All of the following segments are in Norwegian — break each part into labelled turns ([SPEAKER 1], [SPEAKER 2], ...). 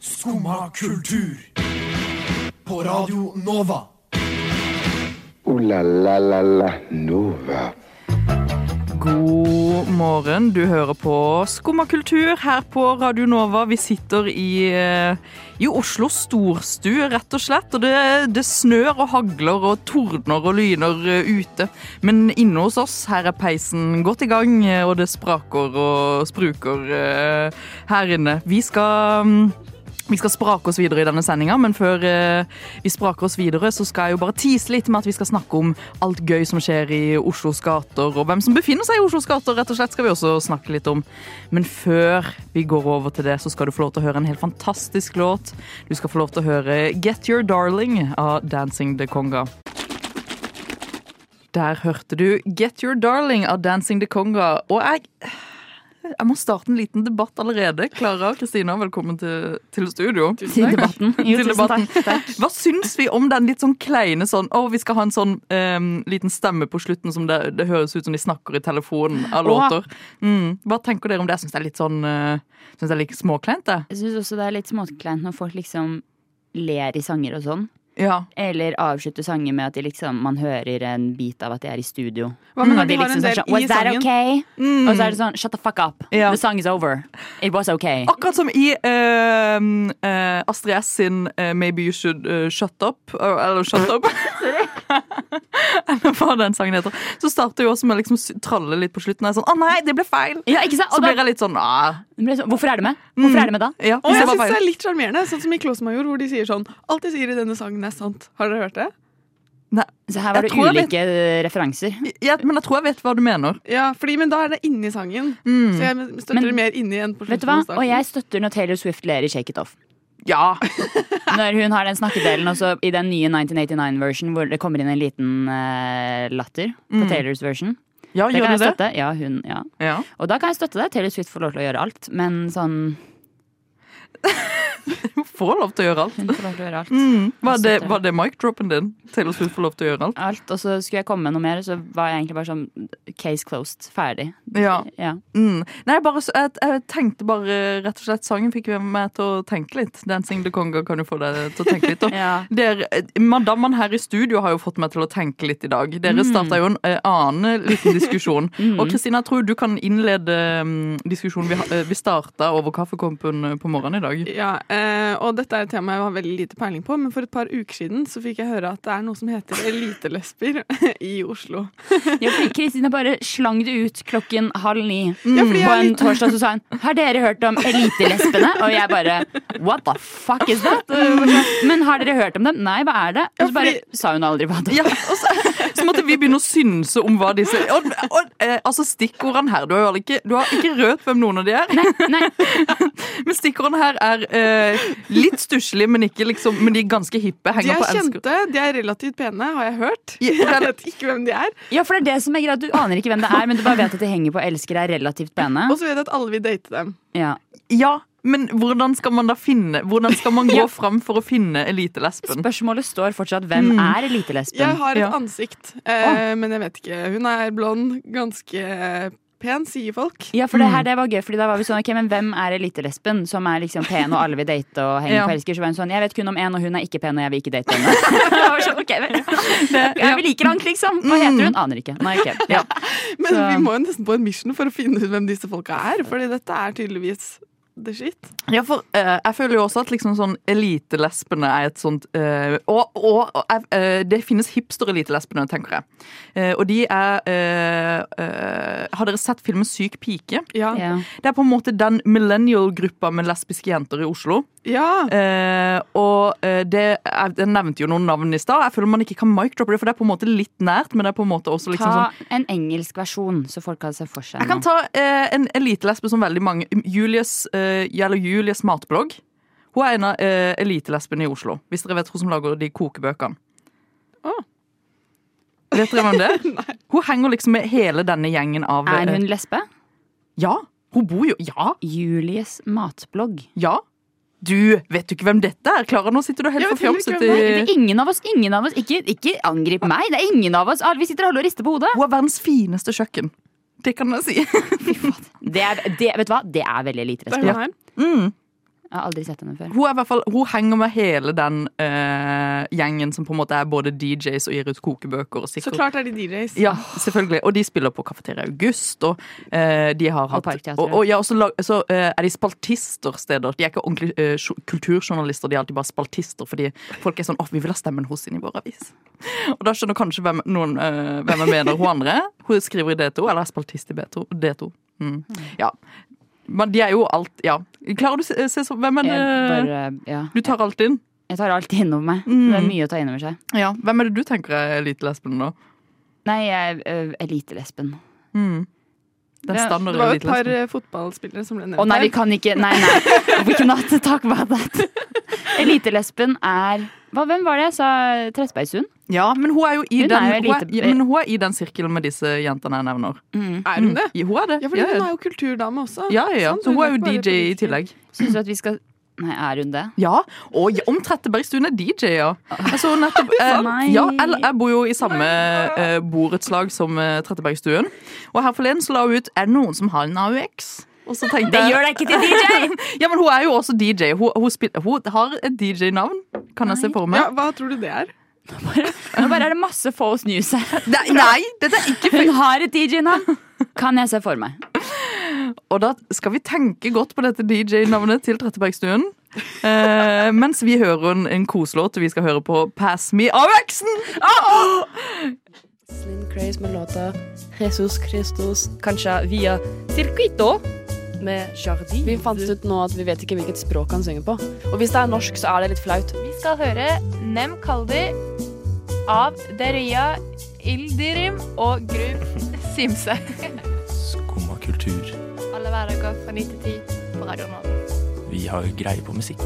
[SPEAKER 1] Skumma kultur. På Radio Nova.
[SPEAKER 2] Ooh la la la la Nova.
[SPEAKER 3] God morgen. Du hører på Skummakultur her på Radio Nova. Vi sitter i, eh, i Oslo storstue, rett og slett. Og det, det snør og hagler og tordner og lyner eh, ute. Men inne hos oss, her er peisen godt i gang, eh, og det spraker og spruker eh, her inne. Vi skal mm, vi skal sprake oss videre i denne sendinga, men før eh, vi spraker oss videre, så skal jeg jo bare tease litt med at vi skal snakke om alt gøy som skjer i Oslos gater, og hvem som befinner seg i Oslos gater, rett og slett, skal vi også snakke litt om. Men før vi går over til det, så skal du få lov til å høre en helt fantastisk låt. Du skal få lov til å høre Get Your Darling av Dancing the Conga. Der hørte du Get Your Darling av Dancing the Conga, og jeg jeg må starte en liten debatt allerede. Klara og Kristina, velkommen til, til studio.
[SPEAKER 4] Til debatten. Jo,
[SPEAKER 3] Til
[SPEAKER 4] tusen
[SPEAKER 3] debatten.
[SPEAKER 4] takk. takk.
[SPEAKER 3] Hva syns vi om den litt sånn kleine sånn Å, vi skal ha en sånn em, liten stemme på slutten som det, det høres ut som de snakker i telefonen av
[SPEAKER 4] Åh.
[SPEAKER 3] låter. Mm. Hva tenker dere om det? Jeg syns det er litt sånn eh, Syns det er litt småkleint, det.
[SPEAKER 4] Jeg syns også det er litt småkleint når folk liksom ler i sanger og sånn.
[SPEAKER 3] Ja.
[SPEAKER 4] Eller avslutter sanger med at de liksom, man hører en bit av at de er i studio.
[SPEAKER 5] Hva med
[SPEAKER 4] Og
[SPEAKER 5] når de
[SPEAKER 4] de
[SPEAKER 5] har en
[SPEAKER 4] liksom sier
[SPEAKER 5] del
[SPEAKER 4] sånn, Was
[SPEAKER 5] i
[SPEAKER 4] that
[SPEAKER 5] sangen?
[SPEAKER 4] okay? Og så er det sånn Shut the fuck up.
[SPEAKER 3] Ja.
[SPEAKER 4] The song is over. It was okay.
[SPEAKER 3] Akkurat som i em, eh, Astrid S sin eh, 'Maybe You Should eh, Shut Up'. eh, Eller 'Shut Up'. eller hva den sangen heter. Så starter jo også med å liksom s- tralle litt på slutten. Og jeg er sånn 'Å nei, det ble feil'.
[SPEAKER 4] Ja, ikke sant?
[SPEAKER 3] Så
[SPEAKER 4] Og
[SPEAKER 3] blir
[SPEAKER 4] da,
[SPEAKER 3] jeg litt sånn ah,
[SPEAKER 4] det ble sånn, hvorfor er det med? Hvorfor er det med da?
[SPEAKER 3] ja,
[SPEAKER 5] Og
[SPEAKER 3] hvis
[SPEAKER 5] jeg
[SPEAKER 3] det var
[SPEAKER 5] synes det
[SPEAKER 3] feil.
[SPEAKER 5] er litt sjarmerende, sånn som i Klosmajor, hvor de sier sånn Alt de sier i denne sangen er sant. Har dere hørt det?
[SPEAKER 4] Så
[SPEAKER 3] Jeg
[SPEAKER 4] her var det
[SPEAKER 3] tror jeg vet-
[SPEAKER 4] ulike referanser.
[SPEAKER 3] Ja, men jeg tror jeg vet hva du mener.
[SPEAKER 5] Ja, fordi, men da er det inni sangen.
[SPEAKER 3] Mm.
[SPEAKER 5] Så jeg støtter
[SPEAKER 4] Men-
[SPEAKER 5] det mer inni enn på
[SPEAKER 4] Vet du
[SPEAKER 5] slutten.
[SPEAKER 4] hva?
[SPEAKER 5] av
[SPEAKER 4] Og
[SPEAKER 5] starten.
[SPEAKER 4] jeg støtter når Taylor Swift ler i Shake It Off.
[SPEAKER 3] Ja.
[SPEAKER 4] Når hun har den snakkedelen også i den nye 1989-versjonen hvor det kommer inn en liten eh, latter på Taylors version.
[SPEAKER 3] ja
[SPEAKER 4] Det
[SPEAKER 3] Mm. gjør
[SPEAKER 4] kan
[SPEAKER 3] du
[SPEAKER 4] jeg
[SPEAKER 3] det?
[SPEAKER 4] støtte. Ja, hun, ja.
[SPEAKER 3] Ja.
[SPEAKER 4] Og da kan jeg støtte deg. Taylor Swift får lov til å gjøre alt. Men sånn
[SPEAKER 3] Du får lov til å gjøre alt.
[SPEAKER 4] Hun får lov til å gjøre alt.
[SPEAKER 3] Mm. Var,
[SPEAKER 4] Jeg
[SPEAKER 3] det,
[SPEAKER 4] støtter.
[SPEAKER 3] var det mic-droppen din? Taylor Swift får lov til å gjøre alt?
[SPEAKER 4] alt. Og så skulle jeg komme med noe mer, så var jeg egentlig bare sånn case closed. Ferdig.
[SPEAKER 3] Ja.
[SPEAKER 4] Ja.
[SPEAKER 3] Mm. Nei, bare, så- jeg, jeg tenkte bare rett og slett Sangen fikk meg til å tenke litt. 'Dancing the Conga' kan jo få deg til å tenke litt. Og
[SPEAKER 4] Ja.
[SPEAKER 3] Der, madammene her i studio har jo fått meg til å tenke litt i dag. Dere
[SPEAKER 4] Mm.
[SPEAKER 3] starta jo en eh, annen liten diskusjon. Og Kristina, jeg tror du kan innlede mm, diskusjonen vi, ha- eh, vi starta over kaffekompen eh, på morgenen i dag.
[SPEAKER 5] Ja, eh, og dette er et tema jeg har veldig lite peiling på, men for et par uker siden så fikk jeg høre at det er noe som heter elitelesber i Oslo.
[SPEAKER 4] Ja, fordi Kristina bare slang det ut klokken halv ni
[SPEAKER 5] fordi jeg
[SPEAKER 4] på
[SPEAKER 5] er
[SPEAKER 4] en
[SPEAKER 5] litt-
[SPEAKER 4] torsdag. Så sa hun 'Har dere hørt om elitelesbene?' Og jeg bare 'What the fuck is that?' Og jeg bare sånn, Men har dere hørt om dem? Nei, hva er det? Og så bare sa hun aldri hva det
[SPEAKER 3] Ja,
[SPEAKER 4] var.
[SPEAKER 3] og så, så måtte vi begynne å synse om hva disse og, og, eh, Altså Stikkordene her Du har jo alle ikke, du har ikke rørt hvem noen av de er.
[SPEAKER 4] Nei,
[SPEAKER 3] Men stikkordene her er eh, litt stusslige, men, ikke liksom, men de er ganske hippe.
[SPEAKER 5] De
[SPEAKER 3] Henger
[SPEAKER 5] er
[SPEAKER 3] på elsker.
[SPEAKER 5] kjente, de er relativt pene, har jeg hørt.
[SPEAKER 3] Ja,
[SPEAKER 5] Jeg
[SPEAKER 3] det er-
[SPEAKER 5] vet ikke hvem de er.
[SPEAKER 4] ja, for det er det som er greit. Du aner ikke hvem det er, men du bare vet at de henger på elsker er relativt pene.
[SPEAKER 5] Og så vet jeg at alle vil date dem.
[SPEAKER 4] Ja.
[SPEAKER 3] Ja, men hvordan skal man da finne Hvordan skal man gå fram for å finne elitelesben?
[SPEAKER 4] Spørsmålet står fortsatt 'Hvem er
[SPEAKER 5] Mm. Jeg
[SPEAKER 4] elitelesben?'
[SPEAKER 5] har et
[SPEAKER 3] Ja.
[SPEAKER 5] ansikt, eh, men jeg vet ikke. Hun er blond, ganske pen, sier folk.
[SPEAKER 4] Ja, for det
[SPEAKER 3] Mm.
[SPEAKER 4] her det var gøy, fordi da var vi sånn, ok, men hvem er elitelesben som er liksom pen og alle vil date og henge
[SPEAKER 3] Ja.
[SPEAKER 4] på elsker? Så var hun sånn, jeg vet kun om en, og hun er ikke pen, og jeg vil ikke date henne. Jeg var sånn, ok, vel. Jeg vil like langt, liksom. Hva
[SPEAKER 3] Mm.
[SPEAKER 4] heter hun? Aner ikke. Nei, ok. Ja.
[SPEAKER 5] Men
[SPEAKER 4] Så-
[SPEAKER 5] vi må jo nesten på en mission for å finne ut hvem disse folka er, Fordi dette er tydeligvis the shit.
[SPEAKER 3] Ja, for eh, Jeg føler jo også at liksom sånn elitelesbene er et sånt eh, Og, og, og jeg- eh, det finnes hipster-elitelesbene, tenker jeg. Eh, og de er eh, eh, Har dere sett filmen Syk pike?
[SPEAKER 5] Ja.
[SPEAKER 4] Ja.
[SPEAKER 3] Det er på en måte den millennial-gruppa med lesbiske jenter i Oslo.
[SPEAKER 5] Ja.
[SPEAKER 3] Eh, og eh, det, jeg, jeg nevnte jo noen navn i stad. Jeg føler man ikke kan micdroppe det, for det er på en måte litt nært. Men det er på en måte også liksom
[SPEAKER 4] Ta
[SPEAKER 3] sånn
[SPEAKER 4] en engelsk versjon, så folk kan se for seg
[SPEAKER 3] Jeg kan ta eh, en elitelesbe som veldig mange. Julies, eh, eller Julies matblogg. Hun er en av eh, elitelesbene i Oslo. Hvis dere vet hun som lager de kokebøkene.
[SPEAKER 5] Å.
[SPEAKER 3] Vet dere hvem det er? hun henger liksom med hele denne gjengen av
[SPEAKER 4] Er
[SPEAKER 3] eh,
[SPEAKER 4] hun lesbe?
[SPEAKER 3] Ja! Hun bor jo Ja!
[SPEAKER 4] Julies matblogg.
[SPEAKER 3] Ja! Du, vet du ikke hvem dette er? Klara, nå sitter du helt
[SPEAKER 5] Jeg vet heller ikke
[SPEAKER 3] forfjamset
[SPEAKER 5] hvem det
[SPEAKER 3] i
[SPEAKER 4] Det er ingen av oss, ingen av oss. Ikke, ikke angrip meg, det er ingen av oss. Alle- Vi sitter og holder og rister på hodet.
[SPEAKER 3] Hun er verdens fineste kjøkken. Det kan jeg si.
[SPEAKER 4] Det er, det, vet du hva? Det er veldig
[SPEAKER 5] Det er hun
[SPEAKER 4] elitelesben.
[SPEAKER 5] her.
[SPEAKER 4] Jeg har aldri sett henne før.
[SPEAKER 3] Hun, er i hvert fall, hun henger med hele den eh, gjengen som på en måte er både DJs og gir ut kokebøker. Og
[SPEAKER 5] Så
[SPEAKER 3] sikkert-
[SPEAKER 5] klart er de DJs.
[SPEAKER 3] Ja, selvfølgelig. Og de spiller på Cafeteria August. Og eh, de har hatt
[SPEAKER 4] Parkteatret.
[SPEAKER 3] og, og, ja, og så, lag- så eh, er de spaltister steder. De er ikke ordentlig eh, jo- kulturjournalister, de er alltid bare spaltister fordi folk er sånn 'Å, vi vil ha stemmen hos inn i vår avis'. Og da skjønner kanskje hvem, noen, eh, hvem jeg mener hun andre. Hun skriver i D2, eller er spaltist i B2, D2. Mm. Ja. Men de er jo alt Ja. Klarer du å se, se så, hvem er det
[SPEAKER 4] Jeg, bare, ja.
[SPEAKER 3] du tar alt inn?
[SPEAKER 4] jeg tar alt innover meg. Det er mye å ta innover seg.
[SPEAKER 3] Ja. Hvem er det du tenker er elitelesben, da?
[SPEAKER 4] Nei, jeg er øh, elitelespen.
[SPEAKER 3] Den
[SPEAKER 4] Ja,
[SPEAKER 3] standard
[SPEAKER 5] Det var jo et par
[SPEAKER 3] elitelesben.
[SPEAKER 5] eh, fotballspillere som ble nevnt
[SPEAKER 4] Å nei, vi
[SPEAKER 5] her.
[SPEAKER 4] kan ikke Nei, nei. We cannot talk about that. Elitelesben er hva, Hvem var det jeg sa? Trettebergstuen?
[SPEAKER 3] Ja, men hun er jo i,
[SPEAKER 4] Hun
[SPEAKER 3] den,
[SPEAKER 4] er
[SPEAKER 3] hun
[SPEAKER 4] jo
[SPEAKER 3] er,
[SPEAKER 4] elite-
[SPEAKER 3] ja, men hun er i den sirkelen med disse jentene jeg nevner.
[SPEAKER 5] Er hun det?
[SPEAKER 3] I- Hun er det.
[SPEAKER 5] Ja, for
[SPEAKER 3] Mm. ja,
[SPEAKER 5] hun
[SPEAKER 3] ja.
[SPEAKER 5] er jo kulturdame også.
[SPEAKER 3] ja, ja, ja.
[SPEAKER 5] Sånn,
[SPEAKER 3] Så hun er jo
[SPEAKER 5] ikke bare
[SPEAKER 3] DJ i
[SPEAKER 5] politiker.
[SPEAKER 3] tillegg.
[SPEAKER 4] Syns du at vi skal Nei, er hun det?
[SPEAKER 3] Ja, og ja, om Trettebergstuen er DJ, ja. Jeg så nettopp eh,
[SPEAKER 4] Nei.
[SPEAKER 3] ja, eller Jeg bor jo i samme eh, borettslag som eh, Trettebergstuen. Og her forleden så la hun ut Er det noen som har en AUX? Og så tenkte jeg
[SPEAKER 4] deg ikke til DJ!
[SPEAKER 3] Ja, men hun er jo også DJ. Hun, hun, spil, hun har et DJ-navn, kan jeg se for
[SPEAKER 5] Ja,
[SPEAKER 3] meg.
[SPEAKER 5] hva tror du det er?
[SPEAKER 4] Nå bare er det masse false news her.
[SPEAKER 3] Nei, nei, dette er ikke
[SPEAKER 4] Hun har et DJ-navn! Kan jeg se for meg.
[SPEAKER 3] Og da skal vi tenke godt på dette DJ-navnet til Trettebergstuen. Eh, mens vi hører en, en koselåt, og vi skal høre på Pass Me Avexen!
[SPEAKER 4] Ah!
[SPEAKER 6] Slim Craze med låta Jesus Christus, kanskje via Circuito med Jardin. Vi fant ut nå at vi vet ikke hvilket språk han synger på. Og hvis det er norsk, så er det litt flaut.
[SPEAKER 7] Vi skal høre Nem Kaldi av Deria Ildirim og Grub Simse.
[SPEAKER 8] Skumma kultur.
[SPEAKER 7] Alle hverdager fra 9 til 10 på Radio Nova.
[SPEAKER 8] Vi har greie på musikk.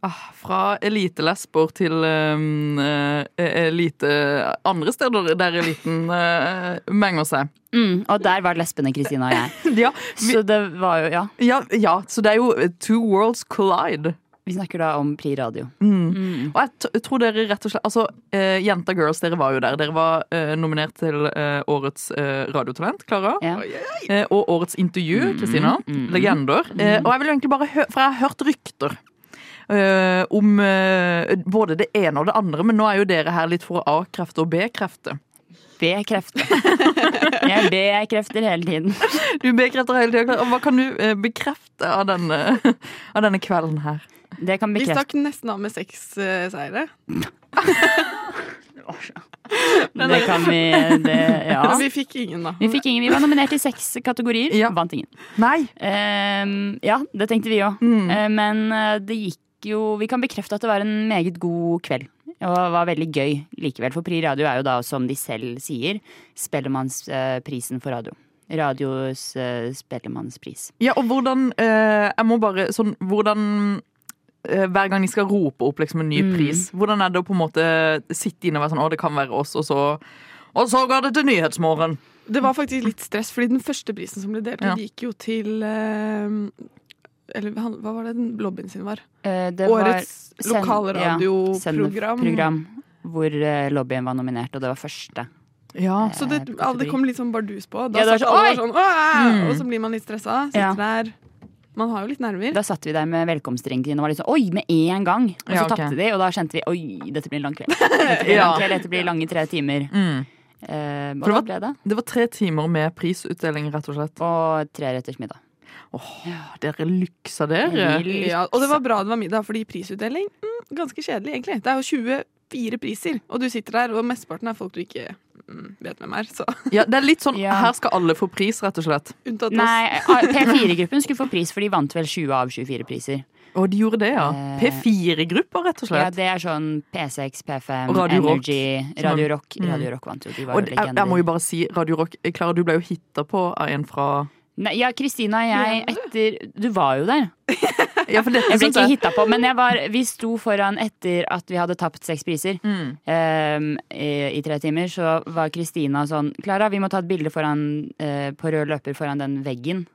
[SPEAKER 3] Ah, fra elitelesber til um, eh, elite andre steder der eliten eh, menger seg.
[SPEAKER 4] Mm, og der var lesbene Kristina og jeg.
[SPEAKER 3] Ja, vi,
[SPEAKER 4] Så det var jo Ja.
[SPEAKER 3] ja, ja, så det er jo eh, two worlds collide.
[SPEAKER 4] Vi snakker da om Pri Radio.
[SPEAKER 3] Og jeg t jeg tror dere rett og slett Altså, eh, Jenta Girls, dere var jo der. Dere var eh, nominert til eh, årets eh, radiotalent, Klara.
[SPEAKER 4] Ja.
[SPEAKER 3] Eh, og årets intervju, Kristina. Legender. Eh, og jeg vil jo egentlig bare hø For jeg har hørt rykter. eh, om eh, både det ene og det andre, men nå er jo dere her litt for å A-krefte og B-krefte.
[SPEAKER 4] B-krefter. Jeg B-krefter hele tiden.
[SPEAKER 3] Du B-krefter hele tiden, Klara. Og Hva kan du eh, bekrefte av denne, av denne kvelden her?
[SPEAKER 4] Det kan
[SPEAKER 5] Vi
[SPEAKER 4] bekrefte
[SPEAKER 5] stakk nesten av med seks eh, seire.
[SPEAKER 4] Det kan vi det, Ja.
[SPEAKER 5] Men vi fikk ingen, da.
[SPEAKER 4] Vi fikk ingen, vi var nominert i seks kategorier.
[SPEAKER 3] Ja.
[SPEAKER 4] Vant ingen.
[SPEAKER 3] Nei!
[SPEAKER 4] Ehm, ja, det tenkte vi òg. men eh, det gikk jo Vi kan bekrefte at det var en meget god kveld. Og det var veldig gøy likevel. For Pri Radio er jo da, som de selv sier, Spellemannsprisen for radio. Radios eh, Spellemannspris.
[SPEAKER 3] Ja, og hvordan eh, Jeg må bare sånn Hvordan eh, hver gang de skal rope opp liksom en ny
[SPEAKER 4] Mm.
[SPEAKER 3] pris, hvordan er det å på en måte sitte inne og være sånn Å, det kan være oss, og så Og så går det til Nyhetsmorgen!
[SPEAKER 5] Det var faktisk litt stress, fordi den første prisen som ble delt,
[SPEAKER 3] Ja.
[SPEAKER 5] ut gikk jo til eh, Eller han- hva var det den lobbyen sin var?
[SPEAKER 4] Eh, det var
[SPEAKER 5] Årets
[SPEAKER 4] send- ja,
[SPEAKER 5] lokalradioprogram.
[SPEAKER 4] sendeprogram, hvor eh, lobbyen var nominert, og det var første.
[SPEAKER 3] Ja,
[SPEAKER 5] så det,
[SPEAKER 4] eh,
[SPEAKER 5] alle, det kom litt sånn bardus på. Da
[SPEAKER 4] Ja, det var
[SPEAKER 5] satt
[SPEAKER 4] sånn,
[SPEAKER 5] alle sånn, «Åh!»
[SPEAKER 3] Mm.
[SPEAKER 5] Og så blir man litt stressa. Sitter
[SPEAKER 4] Ja.
[SPEAKER 5] der. Man har jo litt nerver.
[SPEAKER 4] Da satt vi der med velkomstringen og var litt sånn oi, med én gang. Og så
[SPEAKER 3] Ja, ok.
[SPEAKER 4] tapte de, og da kjente vi oi, dette blir en lang kveld. Dette blir, en
[SPEAKER 3] Ja.
[SPEAKER 4] lang kveld, dette blir lange tre timer.
[SPEAKER 3] Mm.
[SPEAKER 4] Eh, og
[SPEAKER 3] For det
[SPEAKER 4] da
[SPEAKER 3] var-
[SPEAKER 4] ble det.
[SPEAKER 3] Det var tre timer med prisutdeling, rett og slett.
[SPEAKER 4] Og tre retters middag.
[SPEAKER 3] Åh, dere lyksa dere!
[SPEAKER 4] Vill-
[SPEAKER 5] Ja, og det var bra det var middag, fordi prisutdeling mm, ganske kjedelig, egentlig. Det er jo 24 priser, og du sitter der, og mesteparten er folk du ikke mm, vet hvem er. Så
[SPEAKER 3] Ja, det er litt sånn
[SPEAKER 4] Ja.
[SPEAKER 3] her skal alle få pris, rett og slett.
[SPEAKER 5] unntatt
[SPEAKER 4] Nei, ah, P4-gruppen skulle få pris, for de vant vel 20 av 24 priser.
[SPEAKER 3] Og de gjorde det, ja.
[SPEAKER 4] Eh.
[SPEAKER 3] P4-grupper, rett og
[SPEAKER 4] Ja,
[SPEAKER 3] slett.
[SPEAKER 4] Det er sånn P6, P5,
[SPEAKER 3] Og Radio Rock. Mm.
[SPEAKER 4] Energy, Radio Rock. Radio Rock vant jo, de var
[SPEAKER 3] Og
[SPEAKER 4] jo
[SPEAKER 3] jeg, jeg må
[SPEAKER 4] legender.
[SPEAKER 3] jo bare si, Radio Rock, Klara, du ble jo hitta på av en fra
[SPEAKER 4] Nei, Ja, Kristina og jeg etter Du var jo der.
[SPEAKER 3] Ja, for dette
[SPEAKER 4] Jeg ble
[SPEAKER 3] synes
[SPEAKER 4] ikke hitta på, men jeg var, vi sto foran etter at vi hadde tapt seks priser.
[SPEAKER 3] Mm.
[SPEAKER 4] Ehm, i, I tre timer så var Kristina sånn Klara, vi må ta et bilde foran, eh, på rød løper foran den veggen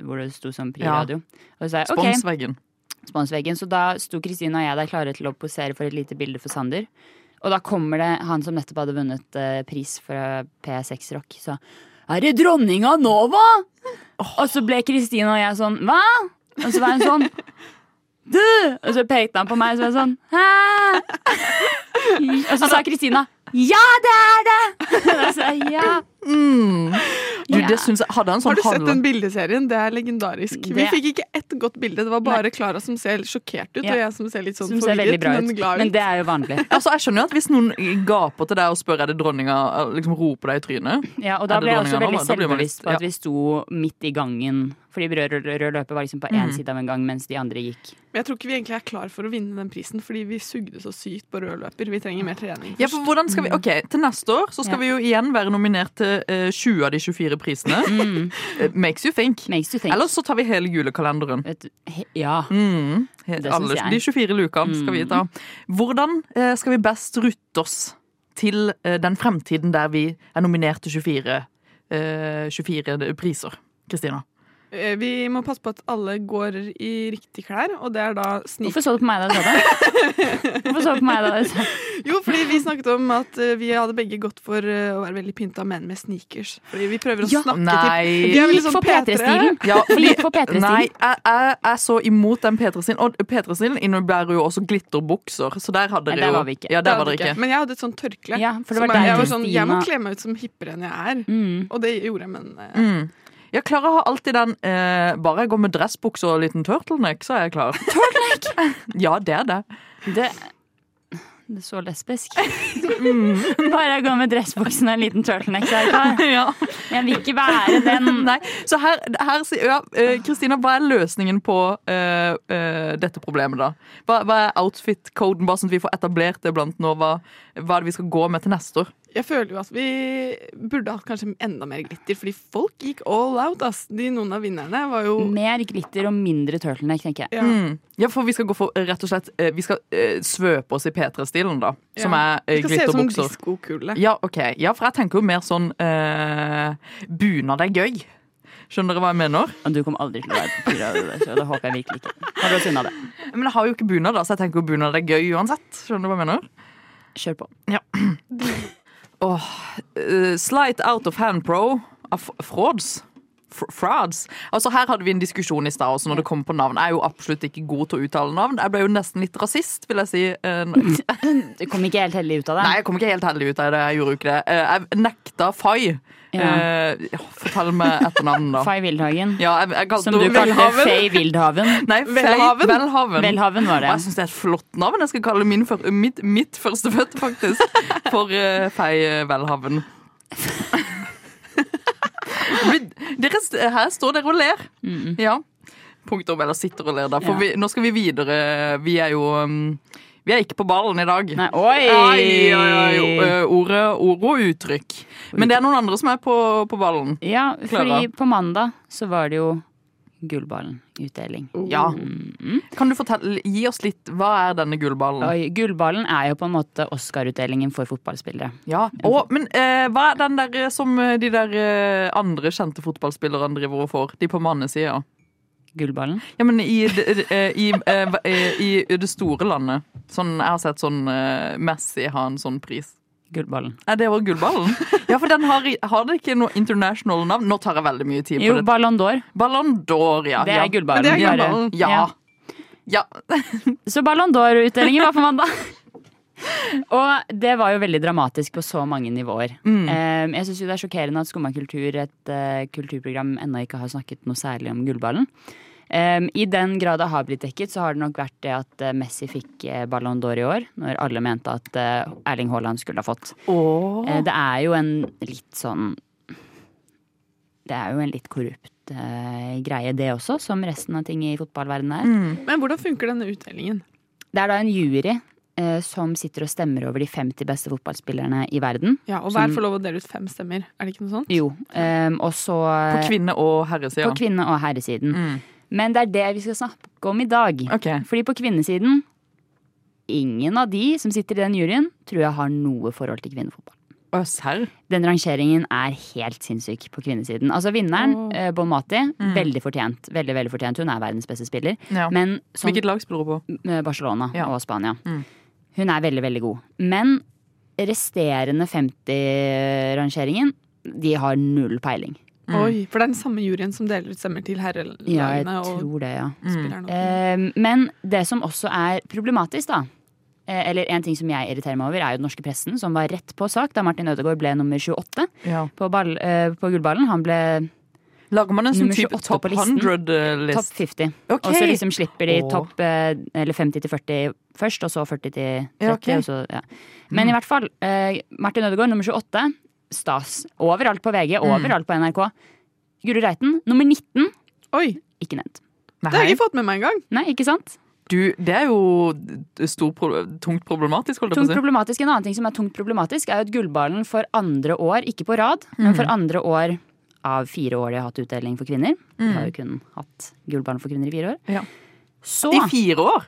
[SPEAKER 4] hvor det sto som
[SPEAKER 3] Ja.
[SPEAKER 4] priradio. Og så sa jeg ok,
[SPEAKER 3] Sponsveggen.
[SPEAKER 4] sponsveggen. Så da sto Kristina og jeg der klare til å posere for et lite bilde for Sander. Og da kommer det han som nettopp hadde vunnet eh, pris fra P6 Rock. Så er det dronninga Nova? Og så ble Kristine og jeg sånn hva? Og så var hun sånn du! Og så pekte han på meg, og så var jeg sånn hæ? Og så sa Kristina ja, det er det! Og da sa jeg ja.
[SPEAKER 3] Du,
[SPEAKER 4] Ja.
[SPEAKER 3] det synes jeg, hadde han sånn
[SPEAKER 5] Har du sett
[SPEAKER 3] halv-
[SPEAKER 5] den bildeserien? Det er legendarisk. Vi
[SPEAKER 4] Det-
[SPEAKER 5] fikk ikke ett godt bilde. Det var bare Klara som ser sjokkert ut,
[SPEAKER 4] Ja.
[SPEAKER 5] og jeg som ser litt sånn
[SPEAKER 4] Som ser veldig
[SPEAKER 5] forvirret,
[SPEAKER 4] bra
[SPEAKER 5] men
[SPEAKER 4] ut.
[SPEAKER 5] glad
[SPEAKER 4] Men
[SPEAKER 5] ut.
[SPEAKER 4] det er jo vanlig.
[SPEAKER 3] Altså, jeg skjønner jo at Hvis noen gaper til deg og spør er det dronninga, liksom roper deg i trynet
[SPEAKER 4] Ja, og da
[SPEAKER 3] Er det
[SPEAKER 4] ble jeg også
[SPEAKER 3] dronningen
[SPEAKER 4] veldig
[SPEAKER 3] nå, da? Da blir man litt-
[SPEAKER 4] selvbevisst på at vi sto midt i gangen. Fordi rød, rød, rød løper var liksom på
[SPEAKER 3] Mhm.
[SPEAKER 4] én side av en gang, mens de andre gikk.
[SPEAKER 5] Men jeg tror ikke vi egentlig er klar for å vinne den prisen, fordi vi sugde så sykt på rød løper. Vi trenger mer trening.
[SPEAKER 3] Ja, for hvordan skal vi, ok, Til neste år så skal
[SPEAKER 4] Ja.
[SPEAKER 3] vi jo igjen være nominert til eh, 20 av de 24 prisene. Eh, Makes you think.
[SPEAKER 4] Makes you think.
[SPEAKER 3] Eller så tar vi hele julekalenderen.
[SPEAKER 4] Vet du, he, ja.
[SPEAKER 3] Mm, he-
[SPEAKER 4] Det syns
[SPEAKER 3] alle,
[SPEAKER 4] jeg.
[SPEAKER 3] de 24 lukene skal vi ta. Hvordan eh, skal vi best rutte oss til eh, den fremtiden der vi er nominert til 24, eh, 24 priser? Kristina.
[SPEAKER 5] Eh, Vi må passe på at alle går i riktig klær, og det er da snik...
[SPEAKER 4] Hvorfor så du på meg da du sa det? Hvorfor så du på meg da du sa det?
[SPEAKER 5] Jo, fordi vi snakket om at eh, vi hadde begge gått for eh, å være veldig pynta menn med sneakers. Fordi vi prøver å
[SPEAKER 4] Ja.
[SPEAKER 5] snakke
[SPEAKER 3] Nei.
[SPEAKER 5] til Vi er veldig
[SPEAKER 4] Gikk
[SPEAKER 5] sånn
[SPEAKER 4] for P3-stilen.
[SPEAKER 3] liksom Ja,
[SPEAKER 4] Fordi gikk for P3-stilen.
[SPEAKER 3] Nei, jeg, jeg er så imot den P3-stilen. Og P3-stilen innebærer jo også glitterbukser, så der hadde
[SPEAKER 4] Nei,
[SPEAKER 3] dere
[SPEAKER 4] der
[SPEAKER 3] jo
[SPEAKER 4] var vi ikke.
[SPEAKER 3] Ja,
[SPEAKER 5] Det
[SPEAKER 3] der var
[SPEAKER 5] hadde
[SPEAKER 3] dere
[SPEAKER 5] ikke.
[SPEAKER 3] ikke.
[SPEAKER 5] Men jeg hadde et sånt tørkle.
[SPEAKER 4] Ja, for det var
[SPEAKER 5] som jeg,
[SPEAKER 4] deg,
[SPEAKER 5] jeg var sånn, jeg må
[SPEAKER 4] Kristina.
[SPEAKER 5] kle meg ut som hippere enn jeg er.
[SPEAKER 4] Mm.
[SPEAKER 5] Og det gjorde jeg, men eh,
[SPEAKER 3] Mm. Ja, Klara har alltid den eh, Bare jeg går med dressbukse og liten turtleneck, så er jeg klar. Turtleneck? ja, det er det.
[SPEAKER 4] Det, det er så lesbisk. Bare jeg går med dressbuksen og en liten turtleneck. så er jeg klar.
[SPEAKER 3] ja.
[SPEAKER 4] Jeg vil ikke være den.
[SPEAKER 3] Nei, så her, her sier ja, eh, Kristina, hva er løsningen på eh, eh, dette problemet, da? Hva, hva er outfit-koden, bare sånn at vi får etablert det blant nå? Hva, hva er det vi skal gå med til neste år?
[SPEAKER 5] jeg føler jo at vi burde hatt kanskje enda mer glitter, fordi folk gikk all out, ass. De, noen av vinnerne var jo
[SPEAKER 4] Mer glitter og mindre turtleneck, tenker jeg.
[SPEAKER 5] ja.
[SPEAKER 3] Mm. Ja, for vi skal gå for rett og slett eh, Vi skal eh, svøpe oss i P3-stilen, da. Som
[SPEAKER 5] Ja.
[SPEAKER 3] er eh,
[SPEAKER 5] Vi skal se ut som en
[SPEAKER 3] glitterbukser.
[SPEAKER 5] diskokule.
[SPEAKER 3] Ja, ok. Ja, for jeg tenker jo mer sånn eh, Bunad er gøy. Skjønner dere hva jeg mener?
[SPEAKER 4] Og du kommer aldri til å være på Pira, så det håper jeg virkelig ikke. Hold oss unna det.
[SPEAKER 3] Men jeg har jo ikke bunad, da, så jeg tenker jo bunad er gøy uansett. Skjønner du hva jeg mener?
[SPEAKER 4] Kjør på.
[SPEAKER 3] Eh, Slight out of hand pro av frauds. Fr- Frauds. Altså Her hadde vi en diskusjon i stad også når det kom på navn. Jeg er jo absolutt ikke god til å uttale navn. Jeg ble jo nesten litt rasist, vil jeg si. eh, nå-
[SPEAKER 4] Du kom ikke helt heldig ut av det.
[SPEAKER 3] Nei, jeg kom ikke helt heldig ut av det. Jeg gjorde jo ikke det. Eh, Jeg nekta Fay.
[SPEAKER 4] Ja.
[SPEAKER 3] Eh, ja, fortell meg etternavnet, da.
[SPEAKER 4] Fay Wildhagen.
[SPEAKER 3] Ja, jeg, jeg kalte
[SPEAKER 4] Som du
[SPEAKER 3] henne
[SPEAKER 4] kalte
[SPEAKER 3] Velhaven.
[SPEAKER 4] Fay Wildhaven.
[SPEAKER 3] Nei, Velhaven.
[SPEAKER 5] Velhaven.
[SPEAKER 3] Velhaven.
[SPEAKER 4] Velhaven var
[SPEAKER 3] Og jeg
[SPEAKER 4] det.
[SPEAKER 3] syns det er et flott navn. Jeg skal kalle min for, mitt, mitt førstefødte, faktisk, for eh, Fei Velhaven. Men dere, her står dere og ler. Ja. Punktum, eller sitter og ler, da. For
[SPEAKER 4] Ja.
[SPEAKER 3] vi, nå skal vi videre. Vi er jo um, Vi er ikke på ballen i dag.
[SPEAKER 4] Nei, oi!
[SPEAKER 3] Ai, ai, ai, ø, Ordet, ord og uttrykk. Men det er noen andre som er på, på ballen.
[SPEAKER 4] Ja,
[SPEAKER 3] Klara.
[SPEAKER 4] fordi på mandag så var det jo Gullballen-utdeling.
[SPEAKER 3] Ja. Kan du fortelle, gi oss litt, hva er denne gullballen?
[SPEAKER 4] Oi, Gullballen er jo på en måte Oscar-utdelingen for fotballspillere.
[SPEAKER 3] Ja. Og, men eh, hva er den der som eh, de der eh, andre kjente fotballspillerne driver og får? De på mannesida.
[SPEAKER 4] Gullballen.
[SPEAKER 3] Ja, men i, d- d- eh, i, eh, hva- eh, i det store landet. Sånn, jeg har sett sånn eh, Messi ha en sånn pris.
[SPEAKER 4] Gullballen.
[SPEAKER 3] Nei, det var gullballen. Ja, for den har, i- har det ikke noe international navn? Nå tar jeg veldig mye tid på
[SPEAKER 4] Jo,
[SPEAKER 3] det.
[SPEAKER 4] Ballon d'Or.
[SPEAKER 3] Ballon d'Or, ja.
[SPEAKER 4] Det er
[SPEAKER 3] ja.
[SPEAKER 4] Gullballen.
[SPEAKER 5] Men det er
[SPEAKER 4] Bare-
[SPEAKER 5] Gullballen.
[SPEAKER 3] Ja. ja.
[SPEAKER 4] Så Ballon d'Or-utdelingen var på mandag. Og det var jo veldig dramatisk på så mange nivåer. Eh, Jeg syns jo det er sjokkerende at Skumma kultur, et eh, kulturprogram, ennå ikke har snakket noe særlig om gullballen. Eh, I den grad det har blitt dekket, så har det nok vært det at eh, Messi fikk eh, Ballon d'Or i år, når alle mente at eh, Erling Haaland skulle ha fått. Eh, Det er jo en litt sånn Det er jo en litt korrupt eh, greie, det også, som resten av ting i fotballverdenen er.
[SPEAKER 5] Men hvordan funker denne utdelingen?
[SPEAKER 4] Det er da en jury eh, som sitter og stemmer over de 50 beste fotballspillerne i verden.
[SPEAKER 5] Ja, Og hver får lov å dele ut fem stemmer. Er det ikke noe sånt?
[SPEAKER 4] Jo, ehm, og så eh,
[SPEAKER 3] På kvinne- og
[SPEAKER 4] på
[SPEAKER 3] herresida.
[SPEAKER 4] kvinne- og herresiden.
[SPEAKER 3] Mm.
[SPEAKER 4] Men det er det vi skal snakke om i dag.
[SPEAKER 3] Ok.
[SPEAKER 4] Fordi på kvinnesiden Ingen av de som sitter i den juryen, tror jeg har noe forhold til kvinnefotball.
[SPEAKER 3] Å, serr?
[SPEAKER 4] Den rangeringen er helt sinnssyk på kvinnesiden. Altså vinneren,
[SPEAKER 5] Åh.
[SPEAKER 4] eh, Bon Mati, veldig fortjent. Veldig, veldig fortjent. Hun er verdens beste spiller.
[SPEAKER 3] Mm. Ja.
[SPEAKER 4] Men som
[SPEAKER 3] Hvilket lag spiller hun på?
[SPEAKER 4] eh, Barcelona
[SPEAKER 3] Ja.
[SPEAKER 4] og Spania.
[SPEAKER 3] Mm.
[SPEAKER 4] Hun er veldig, veldig god. Men resterende 50-rangeringen, de har null peiling.
[SPEAKER 5] Oi, for det er den samme juryen som deler ut stemmer til
[SPEAKER 4] Mm. Ja, jeg
[SPEAKER 5] herrelagene og sånn.
[SPEAKER 4] tror det, ja.
[SPEAKER 5] spillerne.
[SPEAKER 4] Eh, Men det som også er problematisk, da. eh, Eller en ting som jeg irriterer meg over, er jo den norske pressen, som var rett på sak da Martin Ødegaard ble nummer 28
[SPEAKER 3] Ja.
[SPEAKER 4] på, ball, eh, på gullballen. Han ble
[SPEAKER 3] Lager man en sånn
[SPEAKER 4] Nummer
[SPEAKER 3] type
[SPEAKER 4] 28
[SPEAKER 3] top
[SPEAKER 4] på listen.
[SPEAKER 3] 100-list?
[SPEAKER 4] topp 50.
[SPEAKER 3] Ok.
[SPEAKER 4] Og så liksom slipper de
[SPEAKER 3] Åh.
[SPEAKER 4] topp eh, eller 50 til 40 først, og så 40 til 30.
[SPEAKER 3] Ja, ok.
[SPEAKER 4] og så, ja. Men
[SPEAKER 3] Mm.
[SPEAKER 4] i hvert fall, eh, Martin Ødegaard nummer 28. Stas. Overalt på VG,
[SPEAKER 3] Mm.
[SPEAKER 4] overalt på NRK. Guro Reiten nummer 19.
[SPEAKER 5] Oi,
[SPEAKER 4] Ikke nevnt.
[SPEAKER 5] det har
[SPEAKER 3] Nei,
[SPEAKER 5] jeg ikke fått med meg engang.
[SPEAKER 4] Nei, ikke sant?
[SPEAKER 3] du, det er jo stor, pro- tungt problematisk, holdt jeg
[SPEAKER 4] Tungt
[SPEAKER 3] på å si.
[SPEAKER 4] problematisk. En annen ting som er tungt problematisk, er jo at Gullballen for andre år, ikke på rad,
[SPEAKER 3] Mm.
[SPEAKER 4] men for andre år av fire år de har hatt utdeling for kvinner. De har jo kun hatt Gullballen for kvinner i fire år.
[SPEAKER 3] Mm. Ja.
[SPEAKER 4] Så
[SPEAKER 3] I fire år!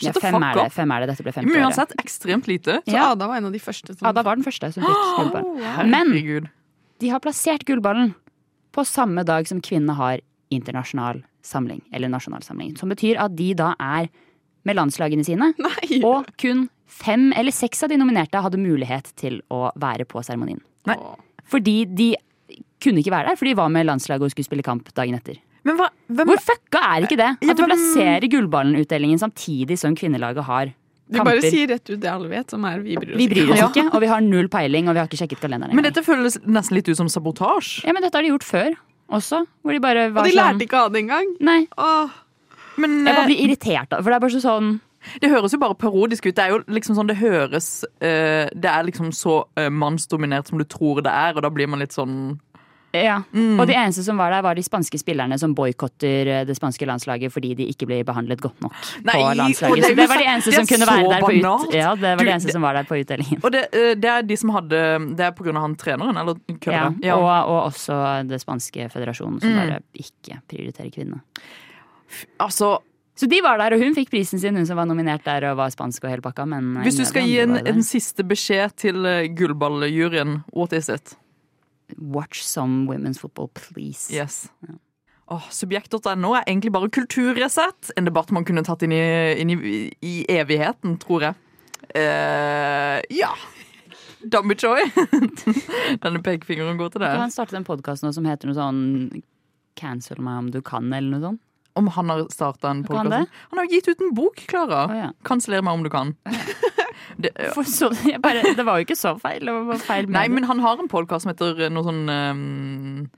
[SPEAKER 4] ja,
[SPEAKER 3] Shut the
[SPEAKER 4] fem,
[SPEAKER 3] fuck
[SPEAKER 4] er det,
[SPEAKER 3] up.
[SPEAKER 4] fem er det. Dette ble femte
[SPEAKER 3] Men
[SPEAKER 4] året.
[SPEAKER 3] uansett ekstremt lite.
[SPEAKER 5] Så
[SPEAKER 4] Ja.
[SPEAKER 5] Ada var en av de første som
[SPEAKER 4] Ada var den første som fikk Gullballen. Men-
[SPEAKER 3] Herregud.
[SPEAKER 4] De har plassert gullballen på samme dag som kvinnene har internasjonal samling, eller nasjonal samling. Som betyr at de da er med landslagene sine,
[SPEAKER 5] Nei!
[SPEAKER 4] og kun fem eller seks av de nominerte hadde mulighet til å være på seremonien.
[SPEAKER 3] Nei.
[SPEAKER 4] Fordi de kunne ikke være der, for de var med landslaget og skulle spille kamp dagen etter.
[SPEAKER 3] Men hva, hvem
[SPEAKER 4] Hvor fucka er ikke det?
[SPEAKER 3] Ja,
[SPEAKER 4] At du
[SPEAKER 3] men-
[SPEAKER 4] plasserer gullballenutdelingen samtidig som kvinnelaget har
[SPEAKER 5] De bare
[SPEAKER 4] kamper.
[SPEAKER 5] sier rett ut det alle vet, som er vi bryr oss
[SPEAKER 4] Vi bryr oss
[SPEAKER 5] Ja.
[SPEAKER 4] ikke, og vi har null peiling, og vi har ikke sjekket kalenderen
[SPEAKER 3] Men
[SPEAKER 4] engang.
[SPEAKER 3] dette føles nesten litt ut som sabotasje.
[SPEAKER 4] Ja, men dette har de gjort før også, hvor de bare
[SPEAKER 5] Og
[SPEAKER 4] var sånn-
[SPEAKER 5] de lærte ikke av det engang.
[SPEAKER 4] Nei.
[SPEAKER 5] Åh,
[SPEAKER 3] Men
[SPEAKER 4] Jeg bare
[SPEAKER 3] eh,
[SPEAKER 4] blir irritert, da. For det er bare så sånn
[SPEAKER 3] det høres jo bare parodisk ut. Det er jo liksom sånn det høres eh, Det er liksom så eh, mannsdominert som du tror det er, og da blir man litt sånn
[SPEAKER 4] ja.
[SPEAKER 3] Mm.
[SPEAKER 4] Og de eneste som var der, var de spanske spillerne som boikotter eh, det spanske landslaget fordi de ikke blir behandlet godt nok
[SPEAKER 3] Nei,
[SPEAKER 4] på
[SPEAKER 3] og
[SPEAKER 4] landslaget.
[SPEAKER 3] det er
[SPEAKER 4] Så
[SPEAKER 3] jo
[SPEAKER 4] det var de
[SPEAKER 3] så-
[SPEAKER 4] eneste
[SPEAKER 3] det er
[SPEAKER 4] som kunne
[SPEAKER 3] så
[SPEAKER 4] være der på,
[SPEAKER 3] banalt.
[SPEAKER 4] ut, ja, det var
[SPEAKER 3] Du,
[SPEAKER 4] de eneste
[SPEAKER 3] det-
[SPEAKER 4] som var der på utdelingen.
[SPEAKER 3] Og det, eh, det er de som hadde Det er på grunn av han treneren, eller
[SPEAKER 4] Ja,
[SPEAKER 3] kødderen?
[SPEAKER 4] og, og også det spanske føderasjonen, som
[SPEAKER 3] Mm.
[SPEAKER 4] bare ikke prioriterer kvinnene.
[SPEAKER 3] Altså,
[SPEAKER 4] Så de var der, og hun fikk prisen sin, hun som var nominert der og var spansk og hele pakka. Men
[SPEAKER 3] hvis du
[SPEAKER 4] ingen av
[SPEAKER 3] skal
[SPEAKER 4] de
[SPEAKER 3] gi en,
[SPEAKER 4] andre var der.
[SPEAKER 3] en siste beskjed til eh, gullballjuryen, what is it?
[SPEAKER 4] Watch some women's football, please.
[SPEAKER 3] Yes. Åh, Subjekt.no er egentlig bare kulturresett. En debatt man kunne tatt inn i, inn i, i evigheten, tror jeg. Eh, ja. Dummy Joy. Denne pekefingeren går til
[SPEAKER 4] Kan
[SPEAKER 3] deg.
[SPEAKER 4] han starte en podkast nå som heter noe sånn Cancel meg om du kan, eller noe sånt?
[SPEAKER 3] Om han har starta en
[SPEAKER 4] Kan han
[SPEAKER 3] podkast?
[SPEAKER 4] det?
[SPEAKER 3] Han har jo gitt ut en bok, Klara.
[SPEAKER 4] Å, ja.
[SPEAKER 3] Kanseller meg om du kan. Det,
[SPEAKER 4] For så, jeg bare, det var jo ikke så feil. Det var bare feil
[SPEAKER 3] nei,
[SPEAKER 4] mening.
[SPEAKER 3] men han har en podkast som heter noe sånn ehm,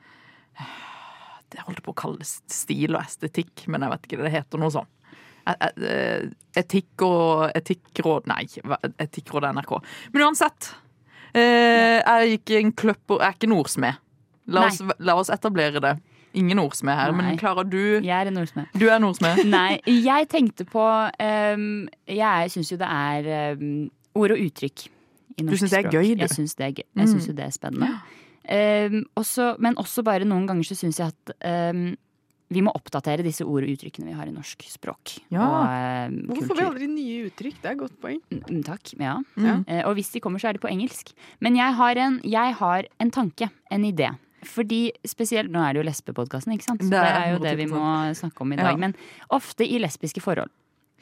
[SPEAKER 3] Det holdt jeg på å kalle stil og estetikk, men jeg vet ikke. Det heter noe sånn. Eh, eh, Etikk og Etikkråd Nei, hva- Etikkråd er NRK. Men uansett. eh, Jeg er ikke en kløpper, jeg er ikke en ordsmed. La, oss- la oss etablere det. Ingen ordsmed her,
[SPEAKER 4] Nei.
[SPEAKER 3] men Klara, du,
[SPEAKER 4] Jeg er en ordsmed.
[SPEAKER 3] du er en ordsmed.
[SPEAKER 4] Nei, jeg tenkte på ehm, Jeg syns jo det er ehm, ord og uttrykk i norsk
[SPEAKER 3] synes det er
[SPEAKER 4] språk.
[SPEAKER 3] gøy, du? Mm.
[SPEAKER 4] Jeg syns det er gøy. Jeg synes jo det er spennende. Ehm, også, men også bare noen ganger så syns jeg at ehm, vi må oppdatere disse ord og uttrykkene vi har i norsk språk.
[SPEAKER 3] Ja.
[SPEAKER 4] Og, ehm,
[SPEAKER 5] Hvorfor får vi
[SPEAKER 4] kultur.
[SPEAKER 5] aldri nye uttrykk? Det er et godt poeng.
[SPEAKER 4] Mm, Takk, ja.
[SPEAKER 5] Ja.
[SPEAKER 4] Eh, Og hvis de kommer, så er de på engelsk. Men jeg har en, jeg har en tanke, en idé. Fordi spesielt, Nå er det jo lesbepodkasten, ikke sant? Så
[SPEAKER 3] Det
[SPEAKER 4] det
[SPEAKER 3] er
[SPEAKER 4] er jo det vi må snakke om i dag.
[SPEAKER 3] Ja.
[SPEAKER 4] Men ofte i lesbiske forhold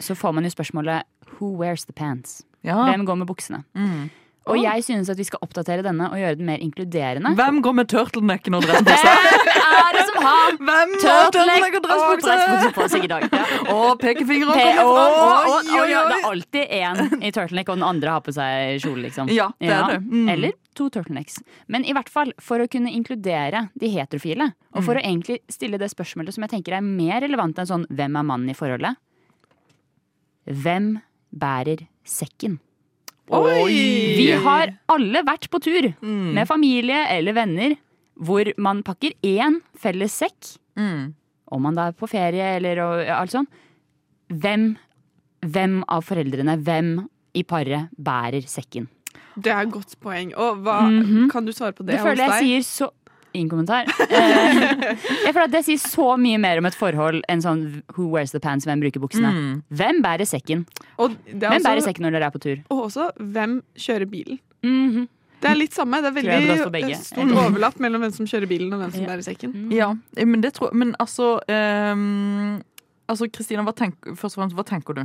[SPEAKER 4] så får man jo spørsmålet 'Who wears the pants?'
[SPEAKER 3] Ja.
[SPEAKER 4] Hvem går med buksene?
[SPEAKER 3] Ah. Mm.
[SPEAKER 4] Og jeg synes at vi skal oppdatere denne og gjøre den mer inkluderende.
[SPEAKER 3] Hvem går med turtlenecken og dress på seg?
[SPEAKER 4] Hvem er det som har
[SPEAKER 3] Hvem har turtleneck
[SPEAKER 4] turtleneck
[SPEAKER 3] og dress på
[SPEAKER 4] og
[SPEAKER 3] seg?
[SPEAKER 4] dressbukse på seg i dag? Ja.
[SPEAKER 3] Og pekefingeren
[SPEAKER 4] P-
[SPEAKER 3] kommer
[SPEAKER 4] og- og-
[SPEAKER 3] fram. Oi,
[SPEAKER 4] og- og-
[SPEAKER 3] oi,
[SPEAKER 4] ja, Det
[SPEAKER 3] oi.
[SPEAKER 4] er alltid én i turtleneck, og den andre har på seg kjole, liksom.
[SPEAKER 3] Ja, det er det. Mm.
[SPEAKER 4] Eller to turtlenecks. Men i hvert fall, for å kunne inkludere de heterofile, og
[SPEAKER 3] Mm.
[SPEAKER 4] for å egentlig stille det spørsmålet som jeg tenker er mer relevant enn sånn 'hvem er mannen i forholdet'? Hvem bærer sekken?
[SPEAKER 3] Oi!
[SPEAKER 4] Vi har alle vært på tur
[SPEAKER 3] Mm.
[SPEAKER 4] med familie eller venner hvor man pakker én felles sekk. Om man da er på ferie eller og, ja, alt sånn. Hvem, hvem av foreldrene, hvem i paret, bærer sekken?
[SPEAKER 5] Det er et godt poeng. Og hva, Kan du svare på det,
[SPEAKER 4] Mhm. Det føler
[SPEAKER 5] hos deg?
[SPEAKER 4] jeg sier så Ingen kommentar. Eh, Jeg føler at det sier så mye mer om et forhold enn sånn who wears the pants, hvem bruker buksene.
[SPEAKER 5] Mm.
[SPEAKER 3] Mm.
[SPEAKER 4] Hvem bærer sekken?
[SPEAKER 5] og det er
[SPEAKER 4] Hvem bærer
[SPEAKER 5] også,
[SPEAKER 4] sekken når dere er på tur?
[SPEAKER 5] og også hvem kjører bilen?
[SPEAKER 4] Mhm.
[SPEAKER 5] Det er litt samme. Det
[SPEAKER 4] Tror
[SPEAKER 5] er
[SPEAKER 4] jeg hadde gått for
[SPEAKER 5] veldig
[SPEAKER 4] begge.
[SPEAKER 5] eh, stort overlapp mellom hvem som kjører bilen, og hvem som bærer sekken.
[SPEAKER 3] Ja, men det tror Men altså ehm, Altså, Kristina, hva tenk, først og fremst, hva tenker du?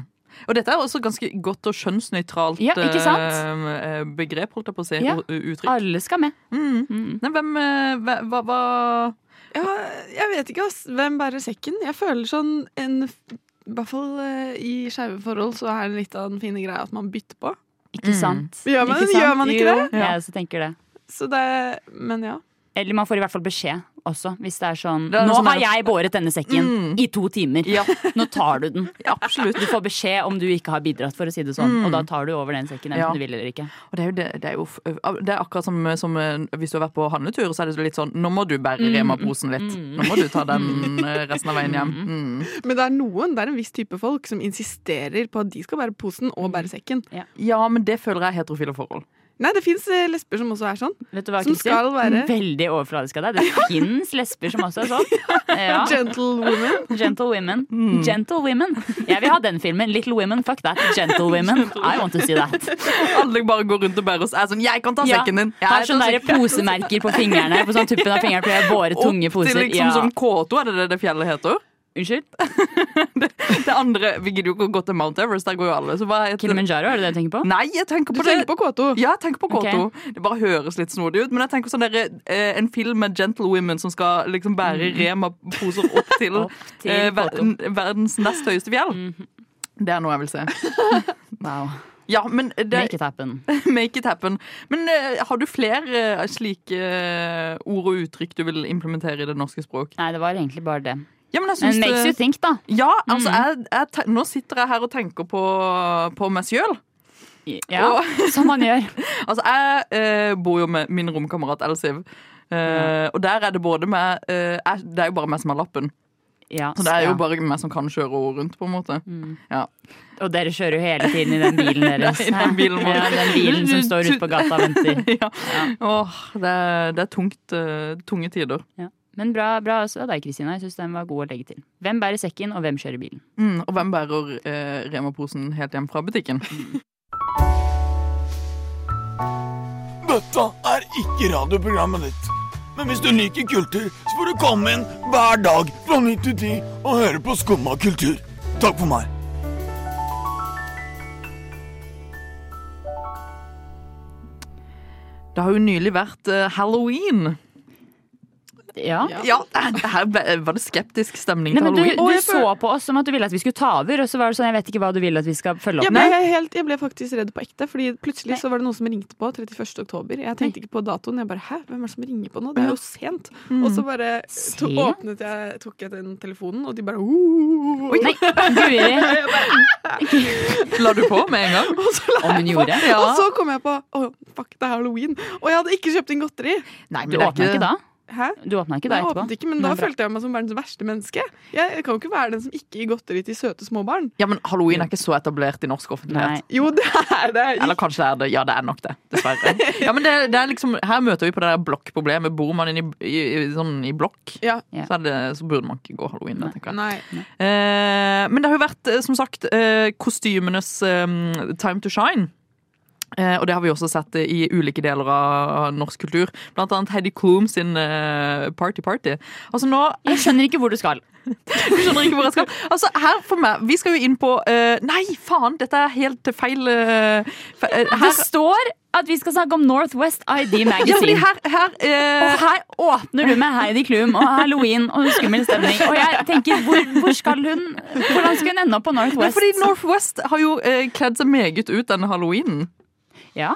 [SPEAKER 3] Og dette er også ganske godt og skjønnsnøytralt
[SPEAKER 4] Ja, ikke sant?
[SPEAKER 3] eh, begrep, holdt jeg på å si.
[SPEAKER 4] Ja.
[SPEAKER 3] og- og Uttrykk.
[SPEAKER 4] Alle skal med.
[SPEAKER 3] Mm.
[SPEAKER 4] Mm.
[SPEAKER 3] Nei, hvem eh, hva, hva, hva
[SPEAKER 5] Ja, jeg vet ikke, ass. Hvem bærer sekken? Jeg føler sånn en I hvert fall eh, i skeive forhold så er det litt av den fine greia at man bytter på.
[SPEAKER 4] Ikke
[SPEAKER 3] Mm.
[SPEAKER 4] sant?
[SPEAKER 5] Gjør man- gjør man ikke
[SPEAKER 4] jo,
[SPEAKER 5] det?
[SPEAKER 4] Jeg
[SPEAKER 3] Ja.
[SPEAKER 4] også tenker det.
[SPEAKER 5] Så det Men ja.
[SPEAKER 4] Eller man får i hvert fall beskjed også, hvis det er sånn
[SPEAKER 3] Det er
[SPEAKER 4] Nå
[SPEAKER 3] noe som
[SPEAKER 4] har
[SPEAKER 3] er- Mm.
[SPEAKER 4] jeg båret denne sekken i to timer. Nå tar du den.
[SPEAKER 3] Absolutt. Mm.
[SPEAKER 4] Du får beskjed om du ikke har bidratt, for å si det sånn. Og da tar du over den sekken, enten
[SPEAKER 3] Ja.
[SPEAKER 4] du vil eller ikke.
[SPEAKER 3] Og det er jo, det, det er jo f- det er akkurat som, som eh, hvis du har vært på handletur, så er det så litt sånn Nå må du bære
[SPEAKER 4] Mm,
[SPEAKER 3] Rema-posen litt. Nå må du ta den eh, resten av veien hjem. Mm.
[SPEAKER 5] Men det er noen, det er en viss type folk som insisterer på at de skal bære posen og bære sekken.
[SPEAKER 3] Ja, men det føler jeg er heterofile forhold.
[SPEAKER 5] Nei, det fins lesber som også er sånn.
[SPEAKER 4] Vet du hva,
[SPEAKER 5] Som
[SPEAKER 4] Kristin?
[SPEAKER 5] skal være-
[SPEAKER 4] Veldig overfladisk av deg. Det fins lesber som også er sånn. Ja.
[SPEAKER 5] Gentle women.
[SPEAKER 4] Gentle women.
[SPEAKER 3] Mm.
[SPEAKER 4] Gentle women. Jeg vil ha den filmen. Little Women, fuck that. Gentle women. I want to see that.
[SPEAKER 3] Alle bare går rundt og bærer oss. Jeg er sånn Jeg kan ta sekken din!
[SPEAKER 4] Har sånne sånn der
[SPEAKER 3] jeg tar sekken.
[SPEAKER 4] posemerker på fingrene. På sånn tuppen av fingeren, for jeg har båret tunge
[SPEAKER 3] Opp til
[SPEAKER 4] poser.
[SPEAKER 3] liksom
[SPEAKER 4] Ja.
[SPEAKER 3] som K2, er det det det fjellet heter?
[SPEAKER 4] Unnskyld?
[SPEAKER 3] Det andre Vi gidder jo ikke å gå til Mount Everest, der går jo alle. Så hva heter det?
[SPEAKER 4] Kilimanjaro, er det det du tenker på?
[SPEAKER 3] Nei, jeg tenker
[SPEAKER 5] Du
[SPEAKER 3] på det.
[SPEAKER 5] tenker på K2.
[SPEAKER 3] Ja, jeg tenker på K2. Det bare høres litt snodig ut. Men jeg tenker sånn der, eh, en film med gentlewomen som skal liksom bære Rema-poser opp til,
[SPEAKER 4] Mm. Opp til Mhm.
[SPEAKER 3] eh, ver
[SPEAKER 4] K2.
[SPEAKER 3] verdens nest høyeste fjell. Det er noe jeg vil se.
[SPEAKER 4] Wow.
[SPEAKER 3] Ja, men det,
[SPEAKER 4] Make
[SPEAKER 3] make,
[SPEAKER 4] it happen.
[SPEAKER 3] it. happen. Men eh, har du flere eh, slike eh, ord og uttrykk du vil implementere i det norske språk?
[SPEAKER 4] Nei, det var egentlig bare det.
[SPEAKER 3] Ja, men jeg
[SPEAKER 4] Men
[SPEAKER 3] syns
[SPEAKER 4] Eh, makes you
[SPEAKER 3] det-
[SPEAKER 4] think, Mm. da.
[SPEAKER 3] ja, altså, jeg, jeg, te- nå sitter jeg her og tenker på, på meg sjøl.
[SPEAKER 4] Ja,
[SPEAKER 3] Og-
[SPEAKER 4] Som man gjør.
[SPEAKER 3] Altså, jeg eh, bor jo med min romkamerat Elsiv. Eh, Og der er det både med eh, jeg, Det er jo bare meg som har lappen.
[SPEAKER 4] Ja,
[SPEAKER 3] Så det er jo
[SPEAKER 4] ja.
[SPEAKER 3] bare meg som kan kjøre henne rundt, på en måte. Ja.
[SPEAKER 4] Og dere kjører jo hele tiden i den bilen deres.
[SPEAKER 3] I den bilen vår.
[SPEAKER 4] ja, den bilen som står ute på gata og venter.
[SPEAKER 3] ja. Åh, det, er- det er tungt, eh, tunge tider.
[SPEAKER 4] Ja. Men bra, bra også av deg, Kristina. Jeg syns den var god å legge til. Hvem bærer sekken, og hvem kjører bilen?
[SPEAKER 3] Mm, og hvem bærer eh, Rema-posen helt hjem fra butikken?
[SPEAKER 1] Dette er ikke radioprogrammet ditt. Men hvis du liker kultur, så får du komme inn hver dag fra 9 til 10 og høre på Skumma kultur. Takk for meg.
[SPEAKER 3] Det har jo nylig vært eh, halloween.
[SPEAKER 4] Ja.
[SPEAKER 5] Ja.
[SPEAKER 3] Ja, her ble, Var det skeptisk stemning
[SPEAKER 4] Nei,
[SPEAKER 3] til
[SPEAKER 4] men du,
[SPEAKER 3] halloween?
[SPEAKER 4] du
[SPEAKER 5] Å, jeg
[SPEAKER 4] så på oss som at du ville at vi skulle ta over, og så var det sånn Jeg vet ikke hva du vil at vi skal følge
[SPEAKER 5] Jeg
[SPEAKER 4] opp
[SPEAKER 5] ble,
[SPEAKER 4] med.
[SPEAKER 5] helt, jeg ble faktisk redd på ekte, Fordi plutselig
[SPEAKER 4] Nei.
[SPEAKER 5] så var det noen som ringte på 31. oktober. Jeg tenkte ikke på datoen. Jeg bare, hæ, hvem er det som ringer på nå? Det er jo sent. Og så bare to,
[SPEAKER 4] Mm. Sent?
[SPEAKER 5] åpnet jeg, tok jeg den telefonen, og de bare «Oh».
[SPEAKER 4] Nei, Guri!
[SPEAKER 3] La du på med en gang?
[SPEAKER 5] Og så la
[SPEAKER 4] Om hun
[SPEAKER 5] jeg på.
[SPEAKER 4] gjorde?
[SPEAKER 5] Og så kom jeg på å, fuck, det er halloween. Og jeg hadde ikke kjøpt inn godteri.
[SPEAKER 3] Nei, men
[SPEAKER 4] Du
[SPEAKER 3] det er
[SPEAKER 4] åpna ikke da?
[SPEAKER 5] Hæ?
[SPEAKER 4] Du åpna ikke
[SPEAKER 5] Nei,
[SPEAKER 4] da
[SPEAKER 5] jeg åpnet
[SPEAKER 4] etterpå?
[SPEAKER 5] ikke, men
[SPEAKER 4] Nei,
[SPEAKER 5] da
[SPEAKER 4] bra.
[SPEAKER 5] følte jeg meg som verdens verste menneske. Jeg, jeg kan jo ikke være den som ikke gir godteri til søte små barn.
[SPEAKER 3] Ja, men Halloween er ikke så etablert i norsk offentlighet.
[SPEAKER 4] Nei.
[SPEAKER 5] Jo, det er det.
[SPEAKER 3] Eller kanskje det er det. Ja, det er nok det. Dessverre. Ja, men det, det er liksom, her møter vi på det der blokkproblemet. Bor man inn i, i, i, sånn, i blokk,
[SPEAKER 5] Ja.
[SPEAKER 3] så, er det, så burde man ikke gå halloween. Da, tenker jeg.
[SPEAKER 5] Nei.
[SPEAKER 3] Eh, men det har jo vært, eh, som sagt, eh, kostymenes eh, time to shine. Eh, og det har vi også sett eh, i ulike deler av av norsk kultur. Blant annet Heidi Klum sin eh, Party Party. Altså nå
[SPEAKER 4] Jeg skjønner ikke hvor du skal.
[SPEAKER 3] jeg skjønner ikke hvor jeg skal. Altså, her for meg, Vi skal jo inn på eh, Nei, faen! Dette er helt feil eh, fe, eh,
[SPEAKER 4] Det
[SPEAKER 3] her,
[SPEAKER 4] står at vi skal snakke om Northwest ID
[SPEAKER 3] ja, fordi
[SPEAKER 4] Magazine.
[SPEAKER 3] her, her eh,
[SPEAKER 4] Og her åpner du med Heidi Klum og halloween og skummel stemning. Og jeg tenker, hvor, hvor skal hun Hvordan skal hun ende opp på
[SPEAKER 3] Men
[SPEAKER 4] Northwest?
[SPEAKER 3] fordi Northwest har jo eh, kledd seg meget ut denne halloweenen.
[SPEAKER 4] Ja.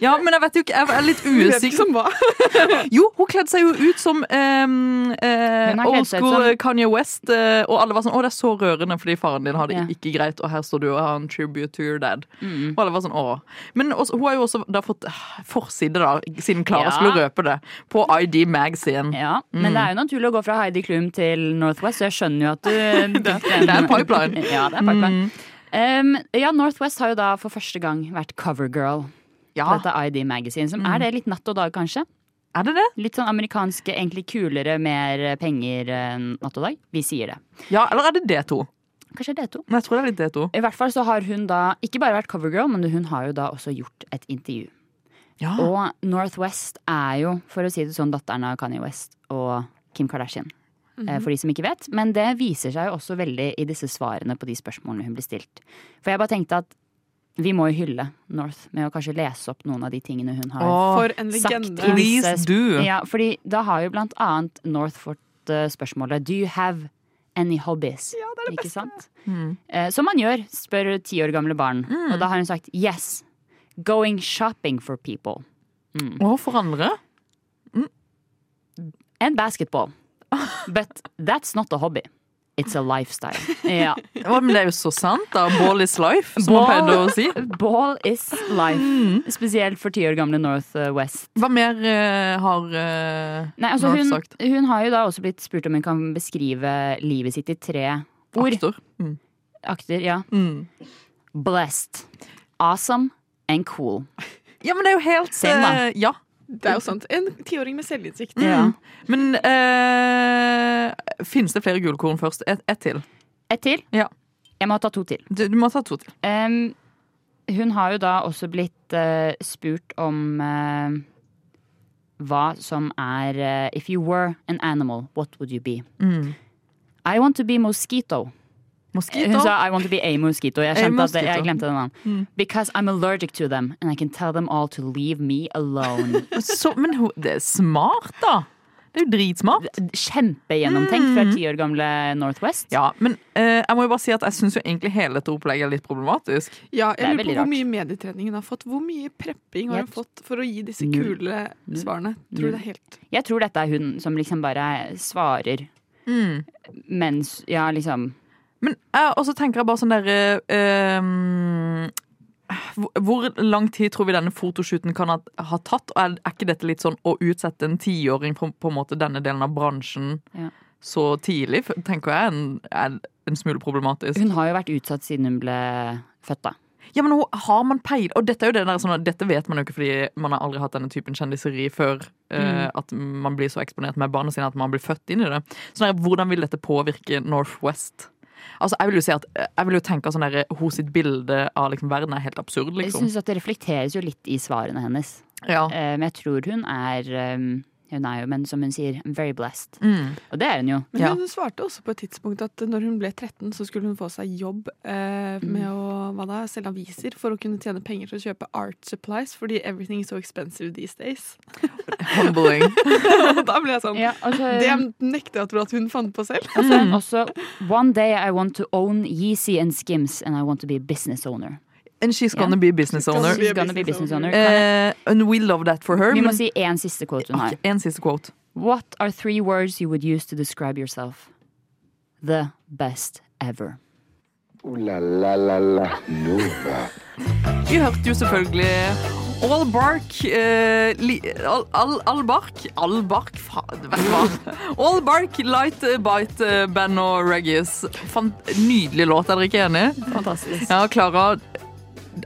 [SPEAKER 3] Ja, men jeg vet jo ikke, jeg er litt
[SPEAKER 5] Jeg vet ikke
[SPEAKER 3] usikker.
[SPEAKER 5] som hva.
[SPEAKER 3] Jo, hun kledde seg jo ut som ehm, eh,
[SPEAKER 4] Hun har kledd
[SPEAKER 3] old
[SPEAKER 4] seg ut
[SPEAKER 3] school
[SPEAKER 4] som-
[SPEAKER 3] Kanye West, eh, og alle var sånn 'Å, det er så rørende fordi faren din har det
[SPEAKER 4] Ja. Mm.
[SPEAKER 3] ikke greit', og her står du og har en tribute to your dad. Og alle var sånn 'Å'. Men også, hun har jo også da fått eh, forside, da, siden Klara
[SPEAKER 4] Ja.
[SPEAKER 3] skulle røpe det, på ID Magazine.
[SPEAKER 4] ja. Men det er jo naturlig å gå fra Heidi Klum til Northwest, så jeg skjønner jo at du Det
[SPEAKER 3] Mm. det er Mm. en pipeline.
[SPEAKER 4] Ja, det er en pipeline. Um, ja, Northwest har jo da for første gang vært covergirl på
[SPEAKER 3] Ja, Mm.
[SPEAKER 4] dette ID Magazine. Som er det litt natt og dag, kanskje?
[SPEAKER 3] er det det?
[SPEAKER 4] Litt sånn amerikanske, egentlig kulere, mer penger eh, natt og dag. Vi sier det.
[SPEAKER 3] Ja, eller er det D2?
[SPEAKER 4] Kanskje det er to.
[SPEAKER 3] Men jeg tror det er litt D2.
[SPEAKER 4] I hvert fall så har hun da ikke bare vært covergirl, men hun har jo da også gjort et intervju.
[SPEAKER 3] Ja.
[SPEAKER 4] Og Northwest er jo, for å si det sånn, datteren av Kanye West og Kim Kardashian. eh, for de som ikke vet. Men det viser seg jo også veldig i disse svarene på de spørsmålene hun blir stilt. For jeg bare tenkte at vi må jo hylle North med å kanskje lese opp noen av de tingene hun har
[SPEAKER 5] For en
[SPEAKER 4] sagt
[SPEAKER 5] legende.
[SPEAKER 4] i disse
[SPEAKER 3] Please
[SPEAKER 4] sp-
[SPEAKER 3] do.
[SPEAKER 4] Ja, fordi da har jo blant annet North fått eh, spørsmålet Do you have any hobbies? Ja, det er det Ikke sant?
[SPEAKER 3] Mm.
[SPEAKER 4] Eh, Som man gjør, spør ti år gamle barn. Og da har hun sagt yes. Going shopping for people.
[SPEAKER 3] Og for andre.
[SPEAKER 4] And basketball. But that's not a hobby. It's a lifestyle. Ja.
[SPEAKER 3] Ja, men det er jo så sant, da. Ball is life, som man
[SPEAKER 4] Ball-
[SPEAKER 3] pleide å si. Mm.
[SPEAKER 4] Ball is life. Spesielt for ti år gamle North eh, West.
[SPEAKER 3] Hva mer eh, har eh,
[SPEAKER 4] Nei, altså
[SPEAKER 3] North
[SPEAKER 4] hun,
[SPEAKER 3] sagt?
[SPEAKER 4] hun har jo da også blitt spurt om hun kan beskrive livet sitt i tre ord.
[SPEAKER 3] Aktor. Mm.
[SPEAKER 4] Akter, ja.
[SPEAKER 3] Mm.
[SPEAKER 4] Blessed, awesome and cool.
[SPEAKER 3] Ja, men det er jo helt
[SPEAKER 4] Same, da.
[SPEAKER 3] eh, Ja. Mm.
[SPEAKER 5] Det er jo sant. En tiåring med selvinnsikt.
[SPEAKER 4] Ja.
[SPEAKER 3] Men eh, finnes det flere gullkorn først? Ett et til.
[SPEAKER 4] Ett til?
[SPEAKER 3] Ja.
[SPEAKER 4] Jeg må ta to til.
[SPEAKER 3] Du, du må ta to til.
[SPEAKER 4] Em, hun har jo da også blitt eh, spurt om eh, hva som er eh, If you were an animal, what would you be?
[SPEAKER 3] Mm.
[SPEAKER 4] I want to be mosquito. Hun
[SPEAKER 3] Moskito.
[SPEAKER 4] sa I want to be a mosquito. Jeg,
[SPEAKER 3] A
[SPEAKER 4] kjente at
[SPEAKER 3] mosquito. Mm.
[SPEAKER 4] jeg glemte den. navn. Because I'm allergic to them, and I can tell them all to leave me alone.
[SPEAKER 3] Så, men hun, det er smart, da. Det er jo dritsmart.
[SPEAKER 4] Kjempegjennomtenkt
[SPEAKER 3] Mm.
[SPEAKER 4] fra ti år gamle Northwest.
[SPEAKER 3] Ja, men eh, jeg må jo bare si at jeg syns jo egentlig hele dette opplegget er litt problematisk.
[SPEAKER 5] Ja,
[SPEAKER 4] Det er
[SPEAKER 5] jeg lurer
[SPEAKER 4] veldig
[SPEAKER 5] på hvor
[SPEAKER 4] rart.
[SPEAKER 5] mye medietrening hun har fått. Hvor mye prepping har
[SPEAKER 4] Jeg
[SPEAKER 5] hun fått for å gi disse
[SPEAKER 4] Null.
[SPEAKER 5] kule
[SPEAKER 4] Null.
[SPEAKER 5] svarene? Tror du det er helt
[SPEAKER 4] Jeg tror dette er hun som liksom bare svarer
[SPEAKER 3] Mm.
[SPEAKER 4] mens Ja, liksom.
[SPEAKER 3] Men jeg også tenker jeg bare sånn derre Hvor lang tid tror vi denne fotoshooten kan ha, ha tatt? Og er, er ikke dette litt sånn å utsette en tiåring for på en måte denne delen av bransjen
[SPEAKER 4] Ja.
[SPEAKER 3] så tidlig, f- tenker jeg en, er en smule problematisk.
[SPEAKER 4] Hun har jo vært utsatt siden hun ble født, da.
[SPEAKER 3] Ja, men hun- har man peil Og dette er jo det der sånn at Dette vet man jo ikke fordi man har aldri hatt denne typen kjendiseri før. eh,
[SPEAKER 4] Mm.
[SPEAKER 3] At man blir så eksponert med barna sine at man blir født inn i det. Sånn der, Hvordan vil dette påvirke Northwest? Altså, jeg vil jo si at Jeg vil jo tenke sånn der Hun sitt bilde av liksom verden er helt absurd,
[SPEAKER 4] Jeg
[SPEAKER 3] liksom.
[SPEAKER 4] syns at det reflekteres jo litt i svarene hennes.
[SPEAKER 3] Ja.
[SPEAKER 4] Eh, Men jeg tror hun er eh, Hun er jo, men som hun sier, very blessed.
[SPEAKER 3] Mm.
[SPEAKER 4] Og det er hun jo.
[SPEAKER 5] Men
[SPEAKER 3] Ja.
[SPEAKER 5] hun svarte også på et tidspunkt at når hun ble 13, så skulle hun få seg jobb
[SPEAKER 4] Mm.
[SPEAKER 5] eh, med å hva da, selge aviser for å kunne tjene penger til å kjøpe art supplies, fordi everything is so expensive these days.
[SPEAKER 3] Humbling.
[SPEAKER 5] Og da ble jeg sånn
[SPEAKER 4] Ja, altså,
[SPEAKER 5] Det nekter jeg å tro at hun fant på selv.
[SPEAKER 4] Og så
[SPEAKER 3] Mm.
[SPEAKER 4] er hun også One day I want to own Yeezy and Skims And I want to be a business owner
[SPEAKER 3] And she's gonna be a business owner.
[SPEAKER 5] be a
[SPEAKER 4] She's gonna be a business owner
[SPEAKER 5] business
[SPEAKER 3] Eh,
[SPEAKER 5] owner.
[SPEAKER 3] and we love that for her.
[SPEAKER 4] Vi må
[SPEAKER 3] Men,
[SPEAKER 4] si en siste quote hun har
[SPEAKER 3] Ok, en siste quote.
[SPEAKER 4] What are three words you would use to describe yourself? The best ever
[SPEAKER 2] Ooh la la la la Nova.
[SPEAKER 3] Vi hørte jo selvfølgelig All Bark eh, li, all, all, all Bark All Bark, faen, vet du hva? All Bark, Light Bite, eh, Ben og Reggies. Fan- Nydelig låt, er dere ikke enig?
[SPEAKER 4] Fantastisk
[SPEAKER 3] Ja, Klara,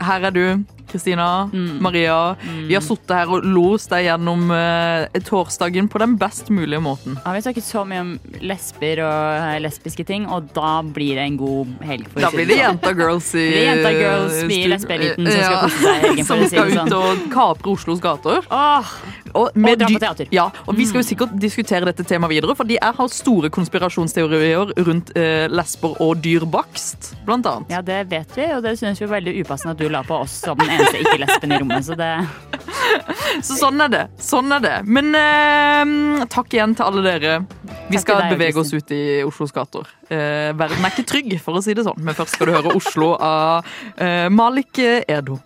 [SPEAKER 3] her er du. Kristina,
[SPEAKER 4] Mm.
[SPEAKER 3] Maria. Vi har sittet her og lost deg gjennom eh, torsdagen på den best mulige måten.
[SPEAKER 4] ja, Vi har snakket så mye om lesber og eh, lesbiske ting Og da blir det en god helg for å
[SPEAKER 3] Da
[SPEAKER 4] si
[SPEAKER 3] blir det
[SPEAKER 4] sånn.
[SPEAKER 3] jenta girls i
[SPEAKER 4] Det blir jenta girls i
[SPEAKER 3] studio.
[SPEAKER 4] lesbeeliten som skal kose seg i helgen, for
[SPEAKER 3] Som
[SPEAKER 4] å si det
[SPEAKER 3] skal
[SPEAKER 4] sånn.
[SPEAKER 3] ut og kapre Oslos gater.
[SPEAKER 4] Åh,
[SPEAKER 3] Og, med
[SPEAKER 4] Og dra på
[SPEAKER 3] dy-
[SPEAKER 4] teater.
[SPEAKER 3] Ja, og vi skal
[SPEAKER 4] Mm.
[SPEAKER 3] jo sikkert diskutere dette temaet videre, fordi jeg har store konspirasjonsteorier rundt eh, lesber og dyr bakst, blant annet.
[SPEAKER 4] Ja, det vet vi Og det synes vi er veldig upassende at du la på oss Som den eneste ikke-lesben i rommet Så det
[SPEAKER 3] Så sånn er det. sånn er det. Men eh, takk igjen til alle dere. Vi
[SPEAKER 4] til
[SPEAKER 3] skal
[SPEAKER 4] deg,
[SPEAKER 3] bevege oss ut i Oslos gater. Eh, verden er ikke trygg, for å si det sånn, men først skal du høre Oslo av eh, Malik Edo.